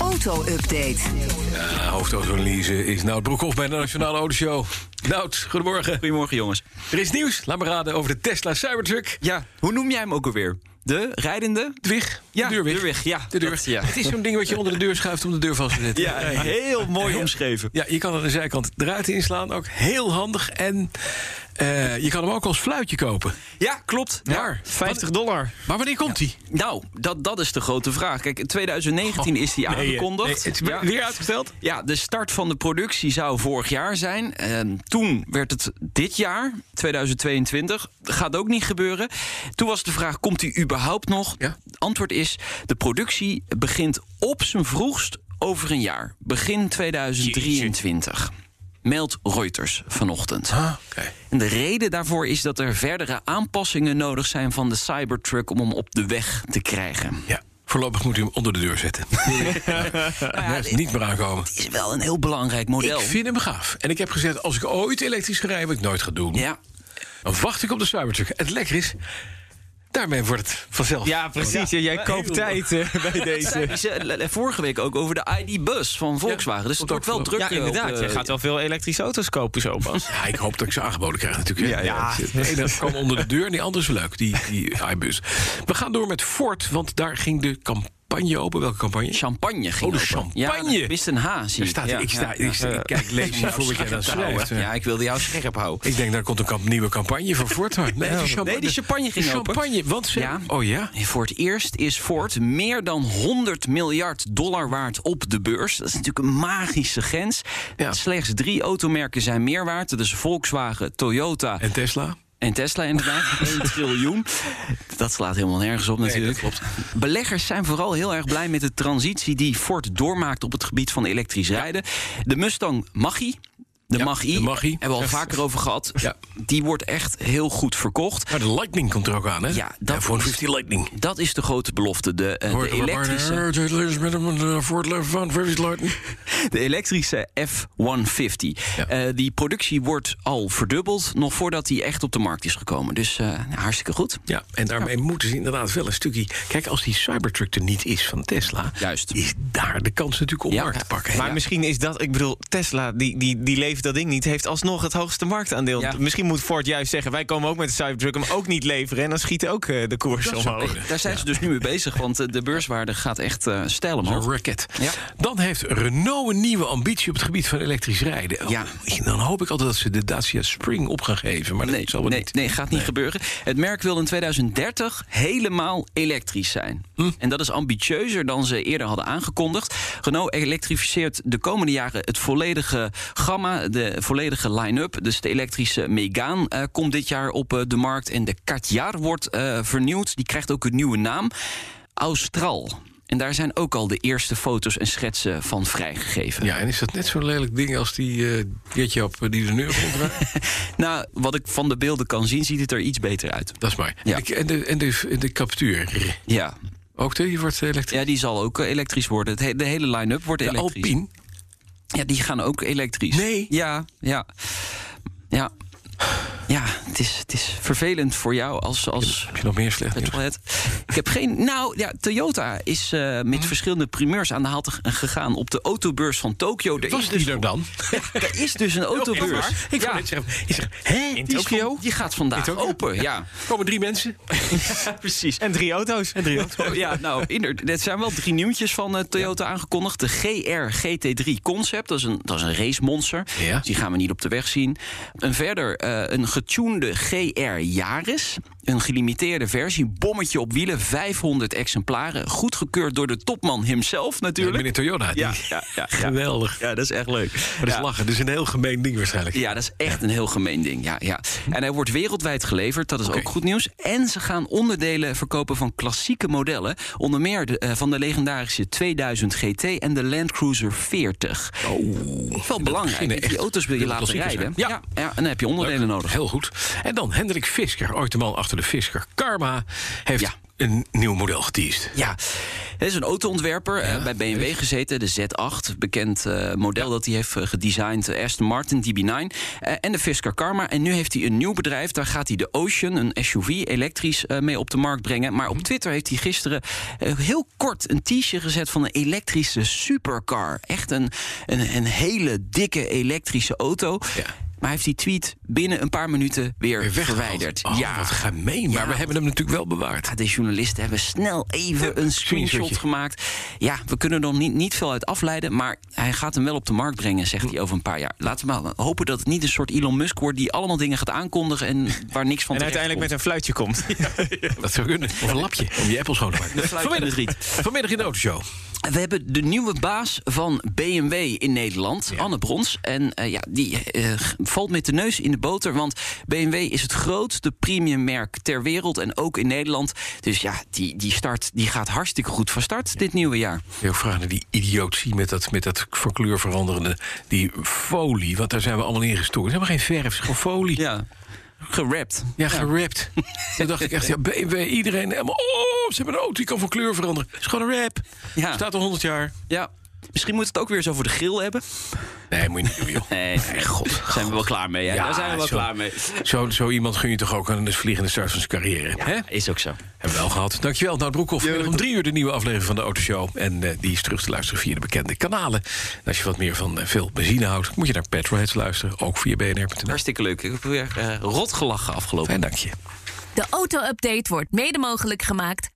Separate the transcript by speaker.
Speaker 1: Auto-update.
Speaker 2: Ja, hoofdautoanalyse is Nout Broekhoff bij de Nationale Autoshow. Nout, goedemorgen.
Speaker 3: Goedemorgen jongens.
Speaker 2: Er is nieuws, laat me raden, over de Tesla Cybertruck.
Speaker 3: Ja, hoe noem jij hem ook alweer? De rijdende?
Speaker 2: Dwig,
Speaker 3: Ja,
Speaker 2: de deurweg.
Speaker 3: deurweg, ja.
Speaker 2: De deur.
Speaker 3: Dat, ja.
Speaker 2: Het is zo'n ding wat je onder de deur schuift om de deur vast te zetten.
Speaker 3: Ja, heel mooi omschreven.
Speaker 2: Ja, je kan aan de zijkant eruit inslaan, ook heel handig. En eh, je kan hem ook als fluitje kopen.
Speaker 3: Ja, klopt. Ja.
Speaker 2: Maar,
Speaker 4: 50 dollar.
Speaker 2: maar wanneer komt hij?
Speaker 3: Nou, dat, dat is de grote vraag. Kijk, in 2019
Speaker 2: Oh,
Speaker 3: is die aangekondigd.
Speaker 2: eh, het is
Speaker 3: Ja.
Speaker 2: weer uitgesteld.
Speaker 3: Ja, de start van de productie zou vorig jaar zijn. Ehm, toen werd het dit jaar, 2022. Gaat ook niet gebeuren. Toen was de vraag: komt hij überhaupt nog?
Speaker 2: Ja.
Speaker 3: Antwoord is: de productie begint op zijn vroegst over een jaar. Begin 2023. Meldt Reuters vanochtend.
Speaker 2: Ah, oké.
Speaker 3: En de reden daarvoor is dat er verdere aanpassingen nodig zijn van de Cybertruck om hem op de weg te krijgen.
Speaker 2: Ja, voorlopig moet u hem onder de deur zetten. Hij is niet meer aankomen.
Speaker 3: Het is wel een heel belangrijk model.
Speaker 2: Ik vind hem gaaf. En ik heb gezegd, als ik ooit elektrisch ga rijden, wat ik nooit ga doen...
Speaker 3: Ja.
Speaker 2: dan wacht ik op de Cybertruck. Het lekker is, daarmee wordt het vanzelf.
Speaker 4: Ja, precies. Ja, jij koopt tijd eh, bij deze.
Speaker 3: Die ze- le- le- vorige week ook over de ID-bus van Volkswagen. Dus het
Speaker 2: Ja,
Speaker 3: wordt wel
Speaker 2: klopt.
Speaker 3: druk.
Speaker 4: Ja,
Speaker 3: eh, op,
Speaker 4: inderdaad.
Speaker 3: eh,
Speaker 4: Je gaat wel veel elektrische auto's kopen zo, Bas.
Speaker 2: Ja, ik hoop dat ik ze aangeboden krijg natuurlijk.
Speaker 4: Ja, ja.
Speaker 2: De ene kwam onder de deur en die andere is leuk, die, die iBus. We gaan door met Ford, want daar ging de campagne open. Welke campagne?
Speaker 3: Champagne ging
Speaker 2: Oh, de
Speaker 3: open.
Speaker 2: champagne.
Speaker 3: Ja, wist een H, zie
Speaker 2: Daar
Speaker 3: ik.
Speaker 2: staat,
Speaker 3: ja.
Speaker 2: ik, sta,
Speaker 3: ja.
Speaker 2: ik, sta- ik kijk, lees niet voor wat jij daar schrijft. eh.
Speaker 3: Ja, ik wilde jou scherp houden.
Speaker 2: Ik denk, daar komt een kamp- nieuwe campagne voor Ford. Maar nee, die champagne,
Speaker 3: Nee, die champagne ging open.
Speaker 2: champagne, want ze...
Speaker 3: Ja.
Speaker 2: Oh ja?
Speaker 3: En Voor het eerst is Ford meer dan 100 miljard dollar waard op de beurs. Dat is natuurlijk een magische grens.
Speaker 2: Ja.
Speaker 3: Slechts drie automerken zijn meer waard. Dat is Volkswagen, Toyota
Speaker 2: En Tesla?
Speaker 3: En Tesla inderdaad, 1 triljoen. Dat slaat helemaal nergens op natuurlijk. Beleggers zijn vooral heel erg blij met de transitie die Ford doormaakt op het gebied van elektrisch rijden. De Mustang Mach-E, de
Speaker 2: Ja,
Speaker 3: Mach-E,
Speaker 2: de Mach-E.
Speaker 3: hebben we al vaker over gehad.
Speaker 2: Ja.
Speaker 3: Die wordt echt heel goed verkocht.
Speaker 2: Maar de Lightning komt er ook aan, hè?
Speaker 3: Ja, dat
Speaker 2: voor een 50
Speaker 3: is-
Speaker 2: Lightning.
Speaker 3: Dat is de grote belofte, de, eh, de elektrische, de elektrische F-150.
Speaker 2: Ja.
Speaker 3: Eh, die productie wordt al verdubbeld, nog voordat die echt op de markt is gekomen. Dus eh, nou, hartstikke goed.
Speaker 2: Ja, en daarmee moeten ze inderdaad wel een stukje... Kijk, als die Cybertruck er niet is van Tesla...
Speaker 3: Juist.
Speaker 2: is daar de kans natuurlijk om
Speaker 3: Ja.
Speaker 2: markt te pakken.
Speaker 4: Maar misschien is dat, ik bedoel, Tesla, die, die, die levert dat ding niet, heeft alsnog het hoogste marktaandeel.
Speaker 3: Ja.
Speaker 4: Misschien moet Ford juist zeggen: wij komen ook met de Cybertruck hem ook niet leveren. En dan schiet ook eh, de koers
Speaker 2: Oh,
Speaker 4: omhoog.
Speaker 3: Daar zijn ze dus nu mee bezig, want eh, de beurswaarde gaat echt eh stijl
Speaker 2: Een
Speaker 3: omhoog.
Speaker 2: racket.
Speaker 3: Ja.
Speaker 2: Dan heeft Renault een nieuwe ambitie op het gebied van elektrisch rijden.
Speaker 3: Ja.
Speaker 2: Oh, Dan hoop ik altijd dat ze de Dacia Spring op gaan geven. Maar
Speaker 3: Nee,
Speaker 2: dat zal wel
Speaker 3: nee,
Speaker 2: niet.
Speaker 3: nee, gaat niet gebeuren. Het merk wil in 2030 helemaal elektrisch zijn.
Speaker 2: Hm.
Speaker 3: En dat is ambitieuzer dan ze eerder hadden aangekondigd. Renault elektrificeert de komende jaren het volledige gamma, de volledige line-up. Dus de elektrische Megane eh, komt dit jaar op eh, de markt. En de Katjar wordt eh, vernieuwd. Die krijgt ook een nieuwe naam. Austral. En daar zijn ook al de eerste foto's en schetsen van vrijgegeven.
Speaker 2: Ja, en is dat net zo'n lelijk ding als die eh ketchup die de neur vond?
Speaker 3: Nou, wat ik van de beelden kan zien, ziet het er iets beter uit.
Speaker 2: dat is maar.
Speaker 3: Ja.
Speaker 2: En, de, en, de, en, de, en de Captur.
Speaker 3: Ja,
Speaker 2: Ook die wordt elektrisch.
Speaker 3: ja die zal ook eh, elektrisch worden. Het he- de hele line-up wordt
Speaker 2: de
Speaker 3: elektrisch.
Speaker 2: Alpine.
Speaker 3: Ja, die gaan ook elektrisch.
Speaker 2: Nee.
Speaker 3: Ja, ja. Ja, ja het, is, het is vervelend voor jou als... als...
Speaker 2: Heb je nog meer slecht nieuws?
Speaker 3: petrolhead. Ik heb geen. Nou ja, Toyota is eh,
Speaker 2: Hm?
Speaker 3: met verschillende primeurs aan de haal te- gegaan op de autobeurs van Tokio. Er is,
Speaker 2: Was die er dan?
Speaker 3: er is dus een autobeurs.
Speaker 2: Ik
Speaker 3: ja,
Speaker 2: wou net zeggen, ik zeg, hè?
Speaker 4: In
Speaker 3: die, is van-
Speaker 4: Tokio?
Speaker 3: die gaat vandaag
Speaker 2: Tokio?
Speaker 3: open. Ja.
Speaker 2: Komen drie mensen?
Speaker 4: Precies. En drie auto's. En drie auto's.
Speaker 3: Oh, ja, nou, inderdaad. Er zijn wel drie nieuwtjes van eh, Toyota aangekondigd. De GR GT3 Concept, dat is een, dat is een racemonster.
Speaker 2: Ja.
Speaker 3: Dus die gaan we niet op de weg zien. En verder eh, een getunede GR Yaris. Een gelimiteerde versie, bommetje op wielen, 500 exemplaren. Goedgekeurd door de topman himself
Speaker 2: Ja,
Speaker 3: natuurlijk.
Speaker 2: meneer Toyota. die-
Speaker 3: Ja, ja, ja, ja.
Speaker 2: Geweldig.
Speaker 3: Ja, dat is echt leuk.
Speaker 2: Maar dat
Speaker 3: Ja.
Speaker 2: is lachen. Dat is een heel gemeen ding waarschijnlijk.
Speaker 3: Ja, dat is echt een heel gemeen ding. Ja, ja. En hij wordt wereldwijd geleverd, dat is ook goed nieuws. En ze gaan onderdelen verkopen van klassieke modellen. Onder meer de, eh, van de legendarische 2000 GT en de Land Cruiser 40. Oh, Wel belangrijk.
Speaker 2: beginnen
Speaker 3: Met Die
Speaker 2: echt
Speaker 3: auto's wil je
Speaker 2: de
Speaker 3: laten
Speaker 2: klassiekers,
Speaker 3: rijden.
Speaker 2: hè?
Speaker 3: Ja. ja, en dan heb je onderdelen nodig.
Speaker 2: Heel goed. En dan Hendrik Fisker, ooit de man achter achter de Fisker. Karma heeft
Speaker 3: Ja.
Speaker 2: een nieuw model geteased.
Speaker 3: Ja, hij is een autoontwerper eh, bij BMW gezeten, de Z8. Bekend eh, model dat hij heeft eh, gedesigned, eh, Aston Martin DB9. eh, en de Fisker Karma. En nu heeft hij een nieuw bedrijf. Daar gaat hij de Ocean, een SUV, elektrisch eh, mee op de markt brengen. Maar op
Speaker 2: Mhm.
Speaker 3: Twitter heeft hij gisteren eh, heel kort een t-shirt gezet van een elektrische supercar. Echt een, een, een hele dikke elektrische auto.
Speaker 2: Ja.
Speaker 3: Maar hij heeft die tweet binnen een paar minuten weer,
Speaker 2: Weer weggehaald.
Speaker 3: verwijderd.
Speaker 2: Oh, ja, wat gemeen. Maar
Speaker 3: Ja.
Speaker 2: we hebben hem natuurlijk wel bewaard.
Speaker 3: Ja, de journalisten hebben snel even een screenshot
Speaker 2: screenshotje.
Speaker 3: gemaakt. Ja, we kunnen er niet, niet veel uit afleiden. Maar hij gaat hem wel op de markt brengen, zegt hij over een paar jaar. Laten we maar hopen dat het niet een soort Elon Musk wordt die allemaal dingen gaat aankondigen en waar niks van
Speaker 4: En
Speaker 3: terecht
Speaker 4: uiteindelijk met
Speaker 3: komt.
Speaker 4: een fluitje komt.
Speaker 2: Dat zou kunnen. Of een lapje om je appel schoon te maken.
Speaker 3: fluit in het riet.
Speaker 2: vanmiddag in de autoshow.
Speaker 3: We hebben de nieuwe baas van BMW in Nederland, Anne Brons. En eh, ja, die eh, g- valt met de neus in de boter. Want BMW is het grootste premiummerk ter wereld en ook in Nederland. Dus ja, die, die start die gaat hartstikke goed van start dit nieuwe jaar.
Speaker 2: Je ook vragen naar die idiotie met dat, met dat van kleur veranderende. Die folie, want daar zijn we allemaal in gestoken. Ze hebben geen verf, ze hebben gewoon folie.
Speaker 3: Ja, gerapt.
Speaker 2: Ja, gerapt. Toen dacht ik echt, ja, BMW, iedereen helemaal... Oh, ze hebben een auto, die kan van kleur veranderen. Het is gewoon een rap.
Speaker 3: Ja.
Speaker 2: Staat al 100 jaar.
Speaker 3: Ja. Misschien moet het ook weer eens over de grill hebben.
Speaker 2: Nee, moet je niet doen, joh.
Speaker 3: Nee, god. Zijn we wel klaar mee? Ja, daar zijn we wel
Speaker 2: zo-
Speaker 3: klaar mee.
Speaker 2: Zo, zo iemand gun je toch ook een vliegende start van zijn carrière. Hè?
Speaker 3: Ja, is ook zo.
Speaker 2: Hebben we al gehad. Dankjewel, Nout Broekhoff. Vanmiddag om drie uur de nieuwe aflevering van de Autoshow. En eh, die is terug te luisteren via de bekende kanalen. En als je wat meer van eh, veel benzine houdt... moet je naar Petrolheads luisteren, ook via bnr.nl.
Speaker 3: Hartstikke leuk. Ik heb weer eh, rot gelachen afgelopen.
Speaker 2: Fijn, dank je.
Speaker 1: De auto-update wordt mede mogelijk gemaakt